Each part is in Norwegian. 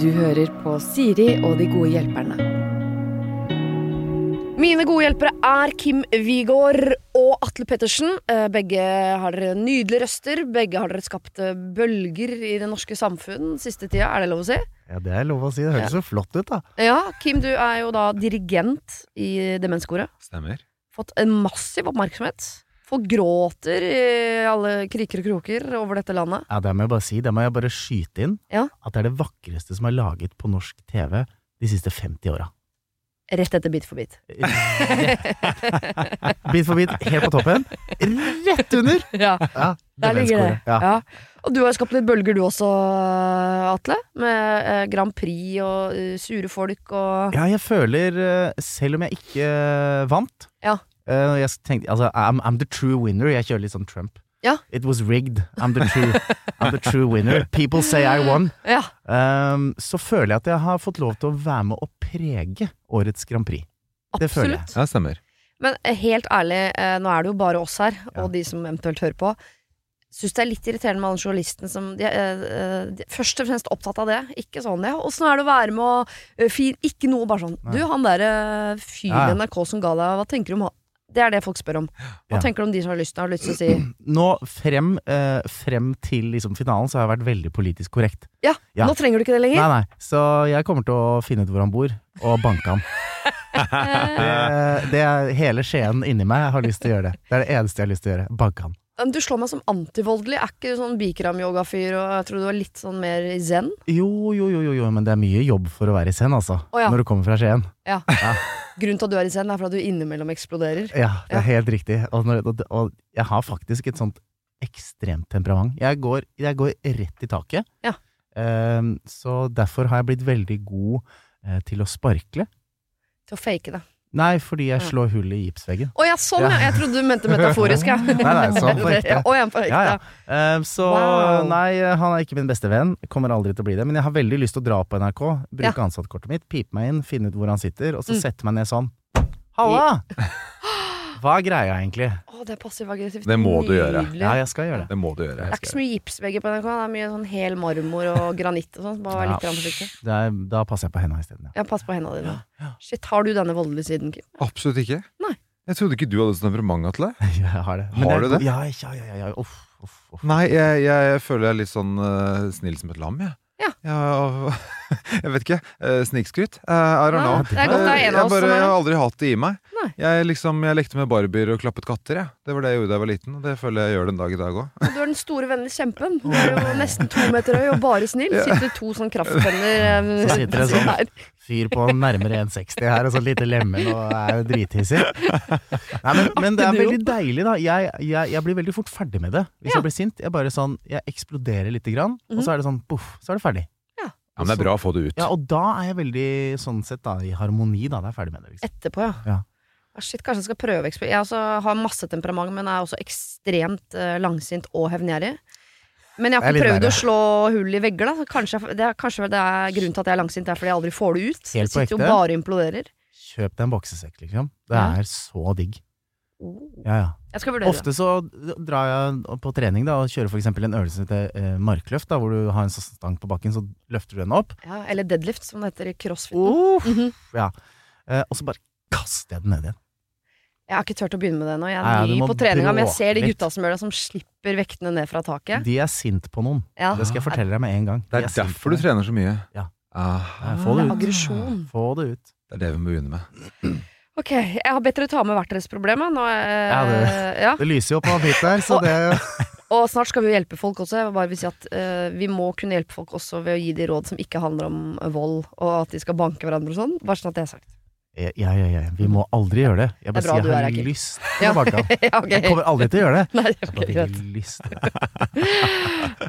Du hører på Siri og de gode hjelperne. Mine gode hjelpere er Kim Wigård og Atle Pettersen. Eh, Begge har dere nydelige røster. Begge har dere skapt eh, bølger i det norske samfunn siste tida, er det lov å si? Ja, det er lov å si. Det høres så flott ut, da. Ja, Kim, du er jo da dirigent i Demenskoret. Stemmer. Fått en massiv oppmerksomhet. Folk gråter i alle kriker og kroker over dette landet. Ja, det må jeg bare si. Det må jeg bare skyte inn. Ja. At det er det vakreste som er laget på norsk TV de siste 50 åra. Rett etter Bit for bit. Bit for bit, helt på toppen. Rett under! Ja, Ja, Der ligger det. Ja. Ja. Og du har jo skapt litt bølger du også, Atle. Med eh, Grand Prix og eh, sure folk og ja, jeg føler, eh, selv om jeg ikke eh, vant Ja. eh, Jeg tenkte, altså, I'm, I'm the true winner. Jeg kjører litt sånn Trump. Ja. It was rigged. I'm the true, I'm the true winner. People say I won. Ja. Ehm, så føler jeg at jeg har fått lov til å være med å prege årets Grand Prix. Det føler jeg. Absolutt. Ja, stemmer. Men eh, helt ærlig, eh, nå er det jo bare oss her, Ja. og de som eventuelt hører på. Syns det er litt irriterende med alle journalistene som de, er, eh, de er først og fremst opptatt av det. Ikke sånn, ja. Åssen er det å være med og eh, fin, Ikke noe bare sånn. Du, Nei. han derre eh, fyren Ja, i ja. NRK som ga deg, hva tenker du om han? Det er det folk spør om. Hva Ja. tenker du om de som har lyst, har lyst til å si Nå frem, eh, frem til liksom, finalen så har jeg vært veldig politisk korrekt. ja, Ja. nå trenger du ikke det lenger? Nei, nei, Så jeg kommer til å finne ut hvor han bor, og banke ham. det, det er Hele Skien inni meg har lyst til å gjøre det. Det er det eneste jeg har lyst til å gjøre. Banke ham. Men Du slår meg som antivoldelig. Er ikke du sånn bikram-yoga-fyr, og jeg tror du er litt sånn mer i zen? Jo, jo, jo, jo, jo, men det er mye jobb for å være i Skien, altså. Å, ja. Når du kommer fra Skien. Ja. Grunnen til at du er i zen, er for at du innimellom eksploderer. Ja, det Ja. er helt riktig. Og, når, og, og jeg har faktisk et sånt ekstremt temperament. Jeg går, jeg går rett i taket. Ja. Ehm, så derfor har jeg blitt veldig god eh, til å sparkle. Til å fake det. Nei, fordi jeg Ja. slår hull i gipsveggen. Å ja, sånn, ja! Jeg trodde du mente metaforisk, ja. nei, sånn på ekte. Ja, Å ja, på ekte. Ja, ja. Ehm, så Wow. nei, han er ikke min beste venn. Kommer aldri til å bli det. Men jeg har veldig lyst til å dra på NRK, bruke Ja. ansattkortet mitt, pipe meg inn, finne ut hvor han sitter, og så Mm. sette meg ned sånn. Halla! Hva er greia, egentlig? Å, det er passiv-aggressivt. Det må du gjøre. Nydelig. Ja, jeg skal gjøre det. Det må du gjøre. Det er ikke så mye gipsvegger på NRK. Det er mye sånn hel marmor og granitt og sånn. så Bare vær Ja. litt grann forsiktig. det er, da passer jeg på henda isteden. Ja. Ja, pass på hendene dine. Shit, har du denne voldelige siden, Kim? Absolutt ikke. Nei. Jeg trodde ikke du hadde sånn temperament, Atle. Ja, jeg har det. Har du er- det? Ja, ja, ja. ja, ja. Uff, uff, uff. Nei, jeg, jeg, føler jeg er litt sånn eh, snill som et lam, jeg. Ja. Jeg, jeg vet ikke. Uh, Snikskryt. Eh, I Nei, don't know. det er godt det er en av Eh, jeg, oss som bare, er jeg har det. aldri hatt det i meg. Nei. Jeg, liksom, jeg lekte med barbier og klappet katter. Jeg. Det var det jeg gjorde da jeg var liten. Og det føler jeg gjør den dag i dag òg. Du er den store vennlige kjempen. Du er jo nesten to meter høy og bare snill. Sitter to sånne kraftpenner eh, Så sitter det sånn. her. Fyr på nærmere 1,60 her, og så et lite lemen, og er jo drithissig. Nei, men, men det er veldig deilig, da. Jeg, jeg, jeg blir veldig fort ferdig med det. Hvis Ja. Mhm. jeg blir sint, jeg bare sånn Jeg eksploderer lite grann, og så er det sånn poff, så er det ferdig. Ja, men det er bra å få det ut. Ja, og da er jeg veldig sånn sett da i harmoni, da. Da er jeg ferdig med det. Liksom. Etterpå, ja. Ja. Ah, Shit, kanskje jeg skal prøve eksper- Jeg også har masse temperament, men er også ekstremt eh, langsint og hevngjerrig. Men jeg har ikke Det er litt prøvd å verre. slå hull i vegger, da. Så Kanskje, jeg- det er, kanskje det er grunnen til at jeg er langsint, det er fordi jeg aldri får det ut. Helt Jeg på sitter jo ekte? bare og imploderer. Kjøp deg en boksesekk, liksom. Det Ja. er så digg. Ja, ja. Jeg skal vurdere det. Ofte så drar jeg på trening da, og kjører for eksempel en øvelse til eh, markløft, da, hvor du har en sånn stang på bakken, så løfter du den opp. Ja, eller deadlift, som det heter i crossfit. Uff, Mhm. ja. eh, og så bare kaster jeg den ned igjen. Jeg har ikke turt å begynne med det nå. Jeg Nei, ja, er du ny må på treninga, men jeg bråke ser de litt. gutta som gjør det, som slipper vektene ned fra taket. De er sint på noen. Ja. Det skal jeg fortelle deg med en gang. Det er De sint på derfor du noen. trener så mye. Ja. Ah, Nei, Få det Det er ut. aggresjon. Få det ut. det er det vi må begynne med. Ok, jeg har bedt dere ta med hvert deres problem. ja. Nå, eh, Ja, ja. Det lyser jo på mitt der, så det Og snart skal vi jo hjelpe folk også. Jeg vil bare vil si at eh, Vi må kunne hjelpe folk også ved å gi de råd som ikke handler om eh, vold, og at de skal banke hverandre og sånn. Bare sånn at det er sagt. ja, ja, ja, ja. Vi må aldri gjøre det. Jeg Det er bare bra sier du jeg er her, har Kim. lyst til Ja. å banke han. ja, ok. Jeg kommer aldri til å gjøre det. Nei, det er Jeg ok, bare greit. veldig lyst til det.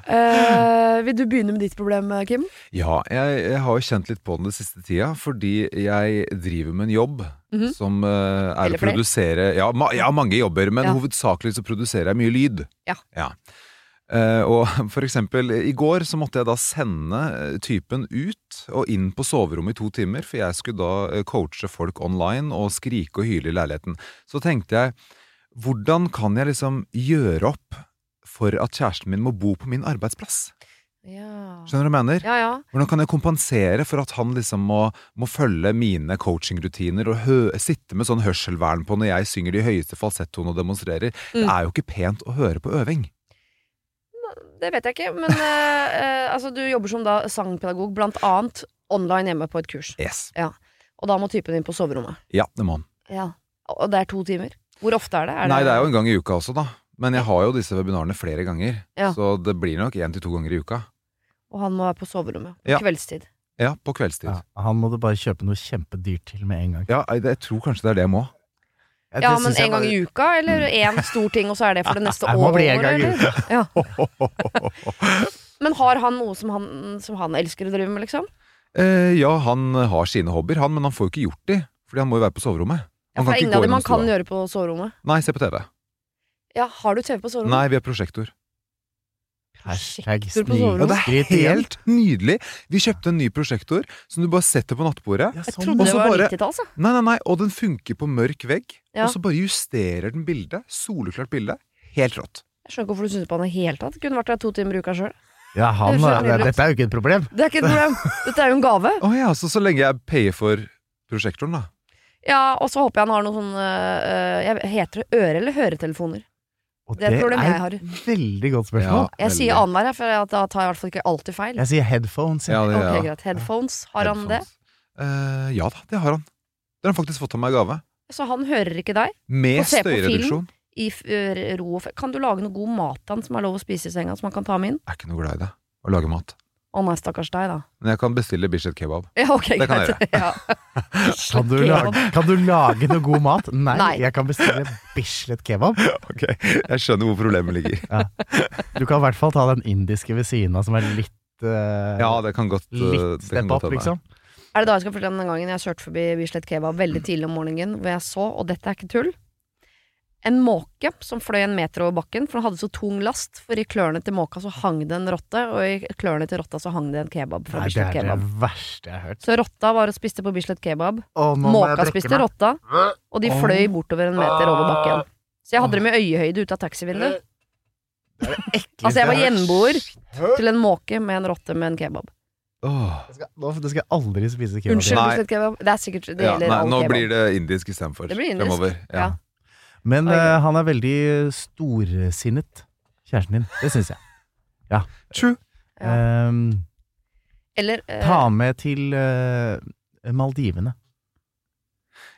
Eh, vil du begynne med ditt problem, eh, Kim? Ja, jeg, jeg har jo kjent litt på den det siste tida, fordi jeg driver med en jobb Mhm. som eh, er Eller å flere. produsere ja, ma ja, mange jobber, men Ja. hovedsakelig så produserer jeg mye lyd. Ja. Eh, og for eksempel, i går så måtte jeg da sende eh, typen ut og inn på soverommet i to timer, for jeg skulle da eh, coache folk online og skrike og hyle i leiligheten. Så tenkte jeg, hvordan kan jeg liksom gjøre opp for at kjæresten min må bo på min arbeidsplass. Ja. Skjønner du hva jeg mener? ja, ja. Hvordan kan jeg kompensere for at han liksom må, må følge mine coachingrutiner og hø sitte med sånn hørselvern på når jeg synger de høyeste falsettoene og demonstrerer? Det Mm. er jo ikke pent å høre på øving. Det vet jeg ikke, men eh, eh, altså, du jobber som da sangpedagog, blant annet online hjemme på et kurs. Yes. Og da må typen din på soverommet. Ja, det må han. Ja. Og det er to timer. Hvor ofte er det? Nei, det er jo en gang i uka også, da. Men jeg har jo disse webinarene flere ganger, Ja. så det blir nok én til to ganger i uka. Og han må være på soverommet. Ja. Kveldstid. Ja, på kveldstid. Ja, Ja, han må du bare kjøpe noe kjempedyrt til med en gang. jeg, jeg tror kanskje det er det jeg må. Jeg- Ja, det men synes en jeg gang i uka, eller én stor ting, og så er det for det neste Det året? må bli en gang i eller? uka. Men har han noe som han, som han elsker å drive med, liksom? Eh, ja, han har sine hobbyer, han, men han får jo ikke gjort de. Fordi han må jo være på soverommet. Ja, for det Han kan er ikke ingen gå av dem gjennom han kan stua. gjøre på soverommet. Nei, se på TV. Ja, har du TV på soverommet? Nei, vi er prosjektor. Hashtag Prosjektor på soverommet. Og det er skryt igjen. helt nydelig! Vi kjøpte en ny prosjektor som du bare setter på nattbordet. Ja, Jeg sånn. trodde Og det så var bare- 90-tall, altså. Nei, nei, nei, og den funker på mørk vegg. Ja. Og så bare justerer den bildet. Soleklart bilde. Helt rått. Jeg skjønner ikke hvorfor du synes på han i det hele tatt. Kunne vært der to timer i uka sjøl. Ja, han, Det er så det, nydelig. dette er jo ikke et problem. Det er ikke et problem. Dette er jo en gave. Å ja, så så lenge jeg payer for prosjektoren, da. Ja, og så håper jeg han har noen sånne øh, jeg vet- Heter det øre- eller høretelefoner? Og Det er et problem jeg har. veldig godt spørsmål. Jeg veldig. sier annenhver, jeg, for at da tar jeg i hvert fall ikke alltid feil. Jeg sier headphones. jeg. Ja, det, Ok, ja. greit. Headphones, har han det? Headphones. Eh, ja da, det har han. Det har han faktisk fått av meg i gave. Så han hører ikke deg? Med Og se på støyreduksjon. I f- ø, ro og fe- Kan du lage noe god mat til han som er lov å spise i senga, som han kan ta med inn? Jeg er ikke noe glad i det. Å lage mat. Å nei, stakkars deg, da. Men jeg kan bestille Bislett kebab. Ja, ok, Det kan greit. Ja. Kan du, lage, kan du lage noe god mat? Nei, Nei. jeg kan bestille Bislett kebab. Ok, Jeg skjønner hvor problemet ligger. Du kan i hvert fall ta den indiske ved siden av, som er litt eh, Ja, det kan godt eh, Litt det kan step godt up, hende. liksom. Er det da jeg skal fortelle om den gangen jeg kjørte forbi Bislett Kebab veldig tidlig om morgenen, hvor jeg så, og dette er ikke tull, en måke som fløy en meter over bakken, for den hadde så tung last, for i klørne til måka så hang det en rotte, og i klørne til rotta så hang det en kebab fra Nei, det Bislett er det Kebab. verste jeg har hørt. Så rotta var og spiste på Bislett Kebab, Å, nå må måka jeg brekke spiste meg. rotta, og de Åh. fløy bortover en meter over bakken. Så jeg hadde dem i øyehøyde ut av taxivinduet. Altså, jeg var hjemmeboer til en måke med en rotte med en kebab. Åh. Det skal, nå, det skal jeg aldri spise kebab. Unnskyld, Nei. Bislett Kebab. Det er sikkert Det Ja, gjelder nei, all nå kebab. blir det indisk istedenfor. Det blir indisk. Fremover. Ja. Ja. Men Oi. eh, han er veldig storsinnet, kjæresten din. Det syns jeg. True. Ja. Ehm, Eller eh, ta med til eh, Maldivene.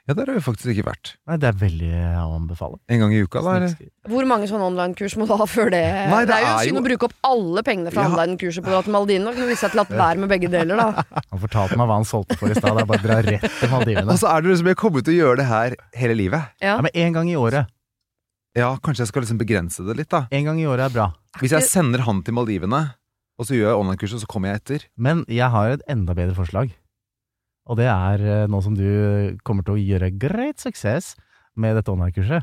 Ja, der har vi faktisk ikke vært. Nei, det er veldig eh, å anbefale. En gang i uka, da? eller? Hvor mange sånne online-kurs må du ha før det? Nei, det er jo er synd jo- å bruke opp alle pengene fra Ja. online-kurset på at Maldivene. Da kunne du vise seg til at hver med begge deler, da. Han fortalte meg hva han solgte for i stad. Det er bare å dra rett til Maldivene. Og så er det liksom, jeg kommer til å gjøre det her hele livet. Ja, men én gang i året. Ja, kanskje jeg skal liksom begrense det litt, da. En gang i året er bra. Hvis jeg sender han til Maldivene, og så gjør jeg online-kurset, og så kommer jeg etter. Men jeg har et enda bedre forslag. Og det er eh, nå som du kommer til å gjøre great suksess med dette online-kurset,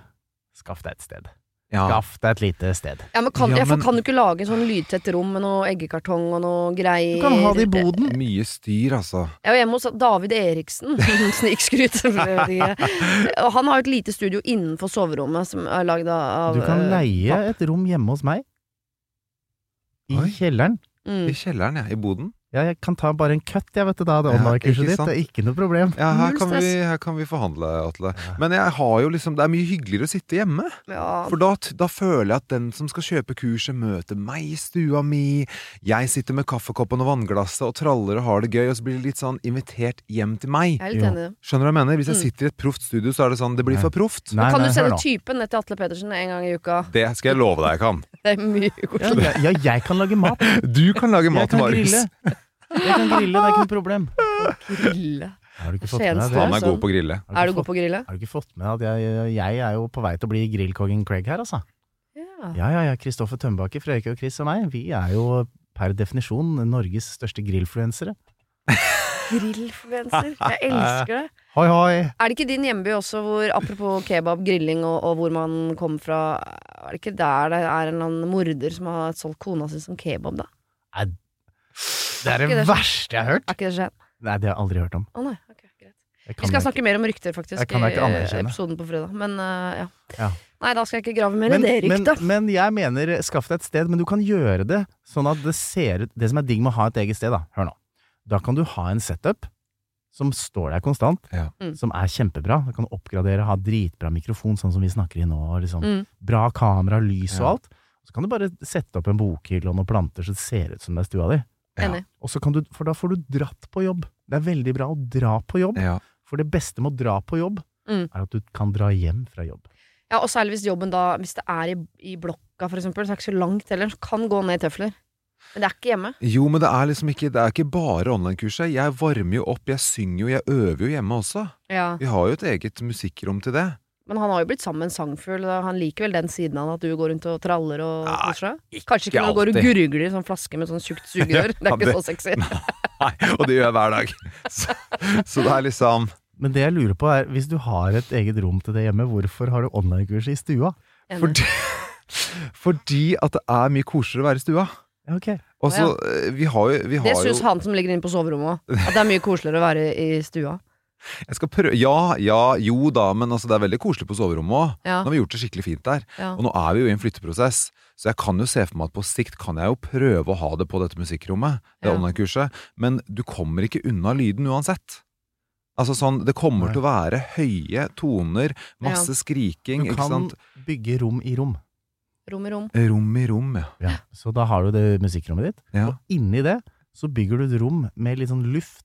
skaff deg et sted. Ja, Skaff deg et lite sted. Ja, men kan, Ja, ja, for men- kan du ikke lage en sånn lydtett rom med noe eggekartong og noe greier? Du kan ha det i boden. Mye styr, altså. Jeg var hjemme hos David Eriksen. Snikskryt. for jeg vet ikke. Og han har jo et lite studio innenfor soverommet som er lagd av Du kan eh, leie papp. et rom hjemme hos meg. I Oi. kjelleren. Mm. I kjelleren, ja. I boden. Ja, jeg kan ta bare en cut, jeg, vet du, da. Det Ja, online-kurset ikke ditt. sant? Det er ikke noe problem. Ja, her Null kan, vi, stress. her kan vi forhandle, Atle. Ja. Men jeg har jo liksom, det er mye hyggeligere å sitte hjemme. Ja. For da, da føler jeg at den som skal kjøpe kurset, møter meg i stua mi. Jeg sitter med kaffekoppen og vannglasset og traller og har det gøy, og så blir det litt sånn invitert hjem til Jeg meg. er litt Jo. enig i det. Skjønner du hva jeg mener? Hvis jeg Mm. sitter i et proft studio, så er det sånn, det blir Nei. for proft. Nei, kan nei, du hør sende nå. typen ned til Atle Pettersen en gang i uka? Det skal jeg love deg jeg kan. Det er mye Ja, koselig. jeg- ja, jeg kan lage mat. Du kan lage Jeg mat, kan Marius. grille. Jeg kan grille, det er ikke noe problem. Grille. Har du ikke fått med Skien deg det? Faen Stad. meg god på å grille. Er du fått- god på å grille? Har du ikke fått med at jeg, jeg er jo på vei til å bli grillkongen Craig her, altså? Ja. Ja, ja, ja. Kristoffer Tømbakke, Frøyke og Chris og meg, vi er jo per definisjon Norges største grillfluensere. Grillforvenser. Jeg elsker det. Hoi, hoi! Er det ikke din hjemby også hvor, apropos kebab, grilling og, og hvor man kommer fra Er det ikke der det er en eller annen morder som har solgt kona si som kebab, da? Det er Ikke det det- verste jeg har hørt! Er ikke det skjedd? Nei, det har jeg aldri hørt om. Å nei, ok, greit. Det kan Vi skal jeg ikke. snakke mer om rykter, faktisk, Jeg kan da i ikke anerkjenne. eh, episoden på fredag. Men eh, ja. Ja. Nei, da skal jeg ikke grave mer i det men, ryktet. men jeg mener, skaff deg et sted, men du kan gjøre det sånn at det ser ut Det som er digg med å ha et eget sted, da, hør nå, da kan du ha en setup som står der konstant, Ja. Mm. som er kjempebra. Du kan oppgradere, ha dritbra mikrofon, sånn som vi snakker i nå, og liksom Mm. bra kamera, lys og Ja. alt. Så kan du bare sette opp en bokhylle og noen planter så det ser ut som det er stua di. Ja. Enig. Og så kan du, For da får du dratt på jobb. Det er veldig bra å dra på jobb, Ja. for det beste med å dra på jobb, Mm. er at du kan dra hjem fra jobb. Ja, og særlig hvis jobben da, hvis det er i, i blokka, for eksempel, så er det ikke så langt heller. Så Kan gå ned i tøfler. Men det er ikke hjemme. Jo, men det er liksom ikke, det er ikke bare online-kurset. Jeg varmer jo opp, jeg synger jo, jeg øver jo hjemme også. Vi har jo et eget musikkrom til det. Men han har jo blitt sammen med en sangfugl. og Han liker vel den siden av han, at du går rundt og traller og Nei, koser deg? Kanskje ikke ikke når du går og alltid. gurgler i sånn flaske med sånn tjukt sugerør. Det er ikke det- så sexy. Nei, og det gjør jeg hver dag. Så, så det er liksom Men det jeg lurer på er, hvis du har et eget rom til det hjemme, hvorfor har du online-kurs i stua? Enig. fordi, fordi at det er mye koseligere å være i stua. Ja, ok. Og så, eh, vi har jo, vi Det har jo syns han som ligger inne på soverommet òg. At det er mye koseligere å være i stua. jeg skal prøve, Ja, ja, jo da, men altså, det er veldig koselig på soverommet òg. Ja, Nå har vi gjort det skikkelig fint der. ja. Og nå er vi jo i en flytteprosess, så jeg kan jo se for meg at på sikt kan jeg jo prøve å ha det på dette musikkrommet, det Ja. online-kurset, men du kommer ikke unna lyden uansett. Altså sånn, Det kommer Nei. til å være høye toner, masse skriking, Du ikke kan sant. bygge rom i rom. Rom i rom. Rom i rom, ja. Så da har du det musikkrommet ditt, ja. og inni det så bygger du et rom med litt sånn luft.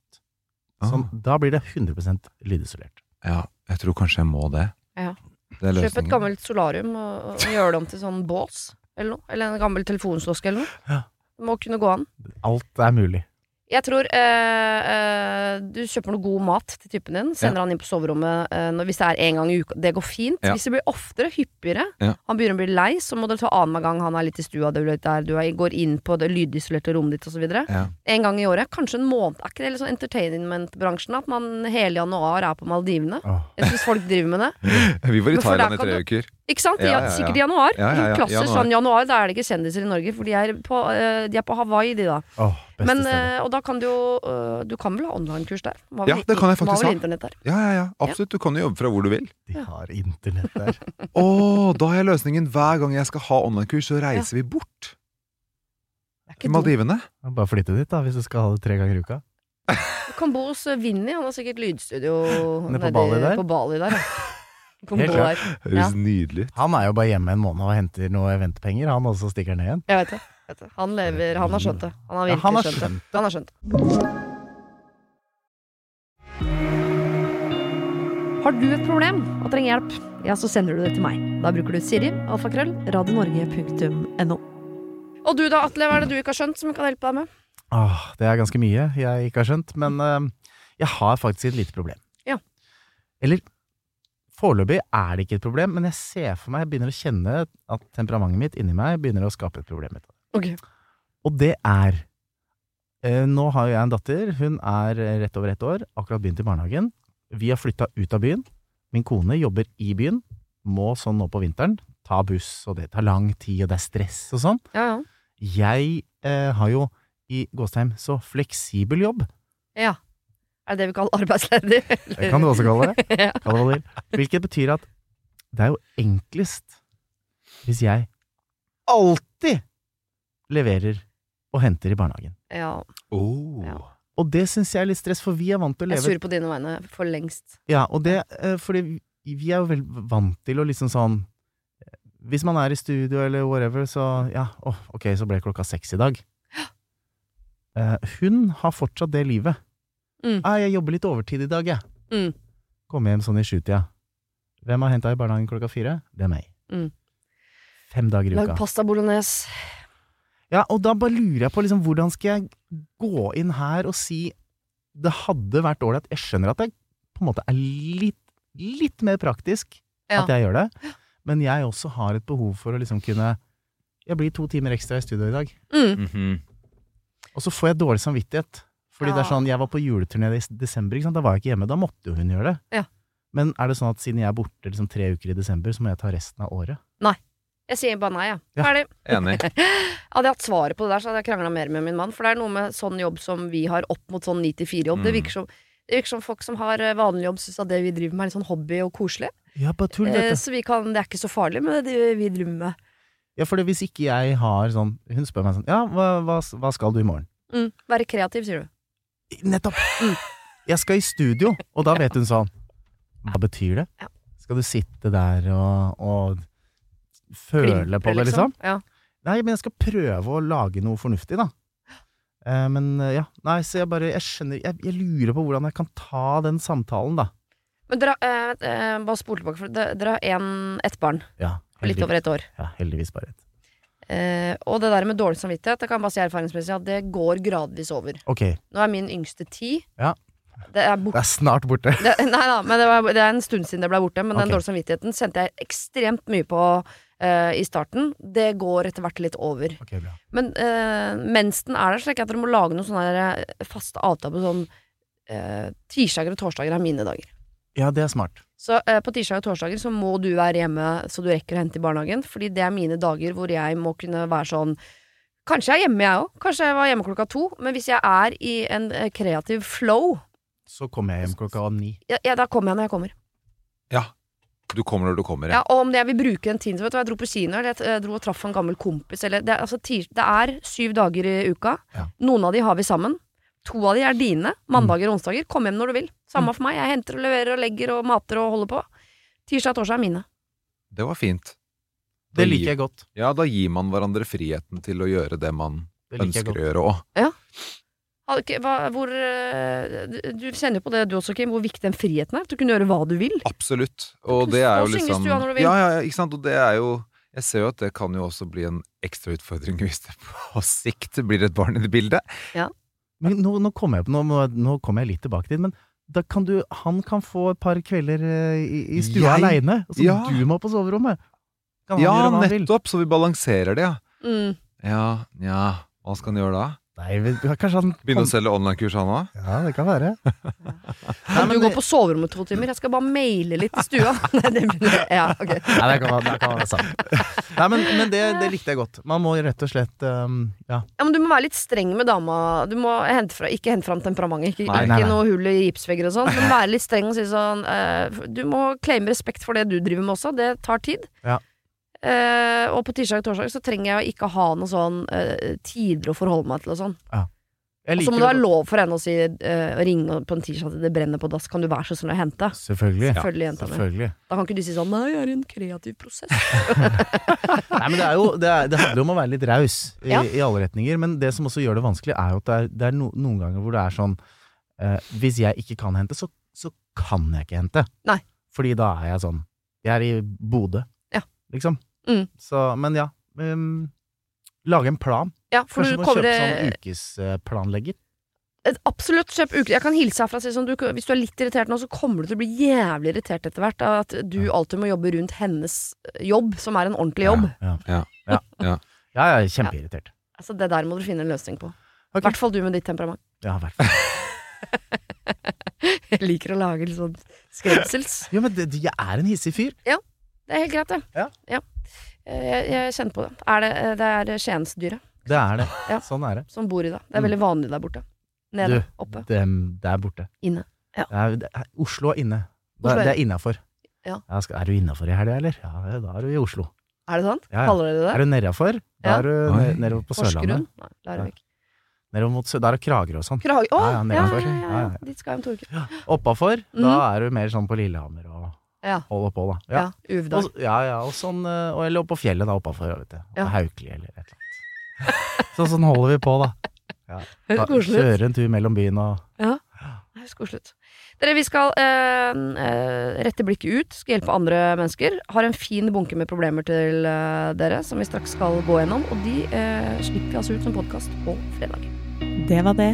Sånn, Ah, Da blir det 100 lydisolert. ja. Jeg tror kanskje jeg må det. Ja. Det er Kjøp et løsningen. gammelt solarium og, og gjør det om til sånn bås eller noe. Eller en gammel telefonslåsk eller noe. Ja. Det må kunne gå an. Alt er mulig. Jeg tror eh, eh, du kjøper noe god mat til typen din. Sender han inn på soverommet eh, når, hvis det er en gang i uka. Det går fint. Ja. Hvis det blir oftere, hyppigere, Ja. han begynner å bli lei, så må dere ta annenhver gang han er litt i stua, du, vet, der, du er, går inn på det lydisolerte rommet ditt osv. Ja. En gang i året. Kanskje en måned. Er ikke det litt sånn entertainment-bransjen? At man hele januar er på Maldivene? Åh. Jeg syns folk driver med det. Vi var Men i for Thailand der i kan tre du- uker. Ikke sant? Ja, Ja, ja, ja. Sikkert i januar. Ja, ja, ja. Klassisk Januar. sånn januar, da er det ikke kjendiser i Norge, for de er på, eh, de er på Hawaii, de da. Åh, beste Men, stedet. eh, og da kan du jo eh, Du kan vel ha online-kurs der? Må Ja, vel- det kan jeg må faktisk vel ha. internett der. Ja, ja, ja. Absolutt. Du kan jo jobbe fra hvor du vil. De har internett der. Å, da har jeg løsningen. Hver gang jeg skal ha online-kurs, så reiser vi bort Det er til ikke dumt. Maldivene. Bare flytte dit, da, hvis du skal ha det tre ganger i uka. Du kan bo hos eh, Vinny, han har sikkert lydstudio Nede på nedi- Bali der? På Bali der ja. Du kan Helt bo klart. der. Høres nydelig ut. Han er jo bare hjemme en måned og henter noe eventpenger, han også stikker ned igjen. Jeg vet det. jeg vet det. Han lever Han har skjønt det. Han har Ja, virkelig han har skjønt, skjønt det. Han har skjønt det. Har du et problem og trenger hjelp, ja, så sender du det til meg. Da bruker du Siri, alfakrøll, radionorge.no. Og du da, Atle, hva er det du ikke har skjønt som kan hjelpe deg med? Åh, det er ganske mye jeg ikke har skjønt, men eh, jeg har faktisk et lite problem. Ja. Eller foreløpig er det ikke et problem, men jeg ser for meg, jeg begynner å kjenne at temperamentet mitt inni meg begynner å skape et problem. ut av det. Ok. Og det er eh, Nå har jo jeg en datter, hun er eh, rett over ett år, akkurat begynt i barnehagen. Vi har flytta ut av byen. Min kone jobber i byen, må sånn nå på vinteren ta buss, og det tar lang tid, og det er stress og sånn. Ja, ja. Jeg eh, har jo i Gåstheim så fleksibel jobb. Ja. Er det det vi kaller arbeidsledig? Det kan du også kalle det. Ja. Kall det hva du vil. Hvilket betyr at det er jo enklest hvis jeg alltid leverer og henter i barnehagen. ja. Oh. Ja. Og det syns jeg er litt stress, for vi er vant til å Jeg leve surer på dine vegne for lengst. Ja, og det eh, Fordi vi er jo vel vant til å liksom sånn eh, Hvis man er i studio eller whatever, så Ja, åh, ok, så ble klokka seks i dag. Eh, hun har fortsatt det livet. Mm. Ah, jeg jobber litt overtid i dag, jeg. Mm. Kommer hjem sånn i sjutida. Hvem har henta i barnehagen klokka fire? Det er meg. Mm. Fem dager i Lag uka. pasta bolognese. Ja, og da bare lurer jeg på liksom, hvordan skal jeg gå inn her og si det hadde vært ålreit. Jeg skjønner at det på en måte er litt, litt mer praktisk Ja. at jeg gjør det, men jeg også har et behov for å liksom kunne Jeg blir to timer ekstra i studio i dag, Mm. Mhm. og så får jeg dårlig samvittighet. Fordi det Ja. er sånn, Jeg var på juleturné i desember, ikke sant? da var jeg ikke hjemme. Da måtte jo hun gjøre det. Ja. Men er det sånn at siden jeg er borte liksom, tre uker i desember, så må jeg ta resten av året? Jeg sier bare nei, jeg. Ja. Ferdig. Enig. Hadde jeg hatt svaret på det der, så hadde jeg krangla mer med min mann. For det er noe med sånn jobb som vi har opp mot sånn 9-4-jobb. Det Mm. virker som Det virker som folk som har eh, vanlig jobb, syns at det vi driver med er litt sånn hobby og koselig. Ja, bare tull, Eh, dette. så vi kan, det er ikke så farlig med det vi driver med. Ja, for hvis ikke jeg har sånn Hun spør meg sånn Ja, hva, hva, hva skal du i morgen? Mm. Være kreativ, sier du. Nettopp! Mm. Jeg skal i studio, og da vet hun sånn Hva betyr det? Ja. Skal du sitte der og, og føle på Klimpre, det, liksom? Ja. Nei, men jeg skal prøve å lage noe fornuftig, da. Eh, men eh, ja, nei, så jeg bare Jeg skjønner jeg, jeg lurer på hvordan jeg kan ta den samtalen, da. Men dere, har- eh, eh, bare spol tilbake, for dere, dere har en- ett barn. Ja, Litt over heldigvis, et år. ja, heldigvis bare ett. Eh, og det der med dårlig samvittighet, det kan jeg bare si erfaringsmessig at det går gradvis over. Ok, det Nå er min yngste ti. Ja. Det er borte. er snart borte. Det, nei da, men det, var, det er en stund siden det ble borte. Men Ok. den dårlige samvittigheten kjente jeg ekstremt mye på eh, i starten. Det går etter hvert litt over. Ok, bra. Men eh, mens den er der, så tenker jeg at dere må lage noen sånne der, eh, faste avtaler på sånn eh, Tirsdager og torsdager er mine dager. Ja, det er smart. Så eh, på tirsdager og torsdager så må du være hjemme så du rekker å hente i barnehagen. Fordi det er mine dager hvor jeg må kunne være sånn Kanskje jeg er hjemme, jeg òg. Kanskje jeg var hjemme klokka to. Men hvis jeg er i en eh, kreativ flow, Så kommer jeg hjem klokka ni. ja, ja, da kommer jeg når jeg kommer. Ja. Du kommer når du kommer. Ja, og om det jeg vil bruke den tiden så Vet du hva, jeg dro på kino, eller jeg eh, dro og traff en gammel kompis eller, det, er- altså, tir, det er syv dager i uka Ja. Noen av de har vi sammen To av de er dine, Mm. mandager og onsdager Kom hjem når du vil, samme for meg Jeg henter og leverer og legger og mater og holder på Tirsdag og torsdag er mine Det var fint. Det liker jeg godt. Ja, da gir man hverandre friheten til å gjøre det man Det liker jeg ønsker godt. å gjøre òg. Har du ikke- hva, hvor, eh, du, du kjenner jo på det du også, Kim Hvor viktig den friheten er At du kunne gjøre hva du vil Absolutt. Og kan det er stå jo og synge i liksom stua når du vil. Ja, ja, ja, ikke sant. Og det er jo Jeg ser jo at det kan jo også bli en ekstra utfordring hvis det på sikt blir et barn i det bildet. Men nå, nå kommer jeg, på- nå, må- nå kommer jeg litt tilbake til det, men da kan du, han kan få et par kvelder eh, i, i stua Jeg- aleine, og så Ja. du må på soverommet. Kan han Ja, gjøre hva han vil? nettopp! Så vi balanserer det, ja. mm. Ja, ja. Hva skal han gjøre da? Nei, vi- kanskje han Begynne å selge online-kurs, han òg? Ja, det kan være. Nei, Kan men du gå det- på soverommet to timer? Jeg skal bare maile litt i stua Nei, det blir- Ja, ok Nei, det kan, være- det kan være sant. Nei, men, men det, det likte jeg godt. Man må rett og slett um, Ja. Ja, men Du må være litt streng med dama. Du må hente fra, Ikke hente fram temperamentet. Ikke, Nei, ikke nei, nei. noe hull i gipsvegger og sånn. Men være litt streng og si sånn eh, Du må claime respekt for det du driver med også. Det tar tid. Ja. Eh, og på tirsdag og torsdag så trenger jeg ikke ha noe sånn eh, tider å forholde meg til og sånn. Jeg Og så liker må det være godt. lov for henne å si eh, Å ringe på en tirsdag til det brenner på dass. Kan du være så snill å hente? Selvfølgelig. Selvfølgelig, jenta mi. Selvfølgelig. Da kan ikke du si sånn Nei, jeg er i en kreativ prosess. Nei, men det, er jo, det, er, det handler jo om å være litt raus i, Ja. i alle retninger. Men det som også gjør det vanskelig, er jo at det er, det er no, noen ganger hvor det er sånn eh, Hvis jeg ikke kan hente, så, så kan jeg ikke hente. Nei. Fordi da er jeg sånn Jeg er i Bodø, Ja. liksom. Mm. Så, men ja. Um, lage en plan. Ja, for Kanskje du du må kommer eh, kjøpe det- sånn ukesplanlegger. Et Absolutt, kjøp uke. Jeg kan hilse herfra og si sånn, du, hvis du er litt irritert nå, så kommer du til å bli jævlig irritert etter hvert av at du alltid må jobbe rundt hennes eh, jobb, som er en ordentlig jobb. Ja, Ja. ja. Ja. ja jeg er kjempeirritert. Altså, det der må du finne en løsning på. I Ok. hvert fall du med ditt temperament. Ja, i hvert fall. Jeg liker å lage litt sånn skremsels. Jo, men det, jeg er en hissig fyr. Det er helt greit, det. Ja. Eh, Jeg, jeg kjenner på det. Er det, eh, det er Skiensdyret Det er det. Ja. Sånn er det. som bor i deg. Det er veldig vanlig der borte. Nede, oppe. Dem der borte. Inne. Ja. Det er, det er, Oslo er inne. Det Oslo er, er- det er innafor. Ja. skal- er du innafor i helga, eller? Ja, da er du i Oslo. Er det sant? Ja, ja. Kaller dere Er det? du nedafor, da Ja. er du Oi. ne- nedover på Porsgrunn? Sørlandet. Nei, Larvik. Nedover mot Sø- Der er Kragerø og sånn. Krage... Å! Ja, ja, Ja, ja, nedenfor. ja, ja, Ja, ja. Dit skal jeg om to uker. Oppafor, da er du mer sånn på Lillehammer og Mm. Ja. holder på, da. Ja. Ja, Uvdal. og, ja, ja og sånn eh, og, Eller oppå fjellet, da, oppafor, vet du. Ja. Og Haukeli eller et eller annet. Så sånn holder vi på, da. Ja. Høres Da koselig ut. Kjøre en tur mellom byen og Det er Koselig. ut. Dere, vi skal eh, eh, rette blikket ut, skal hjelpe andre mennesker. Har en fin bunke med problemer til eh, dere, som vi straks skal gå gjennom. Og de eh, slipper vi altså ut som podkast på fredag. Det var det.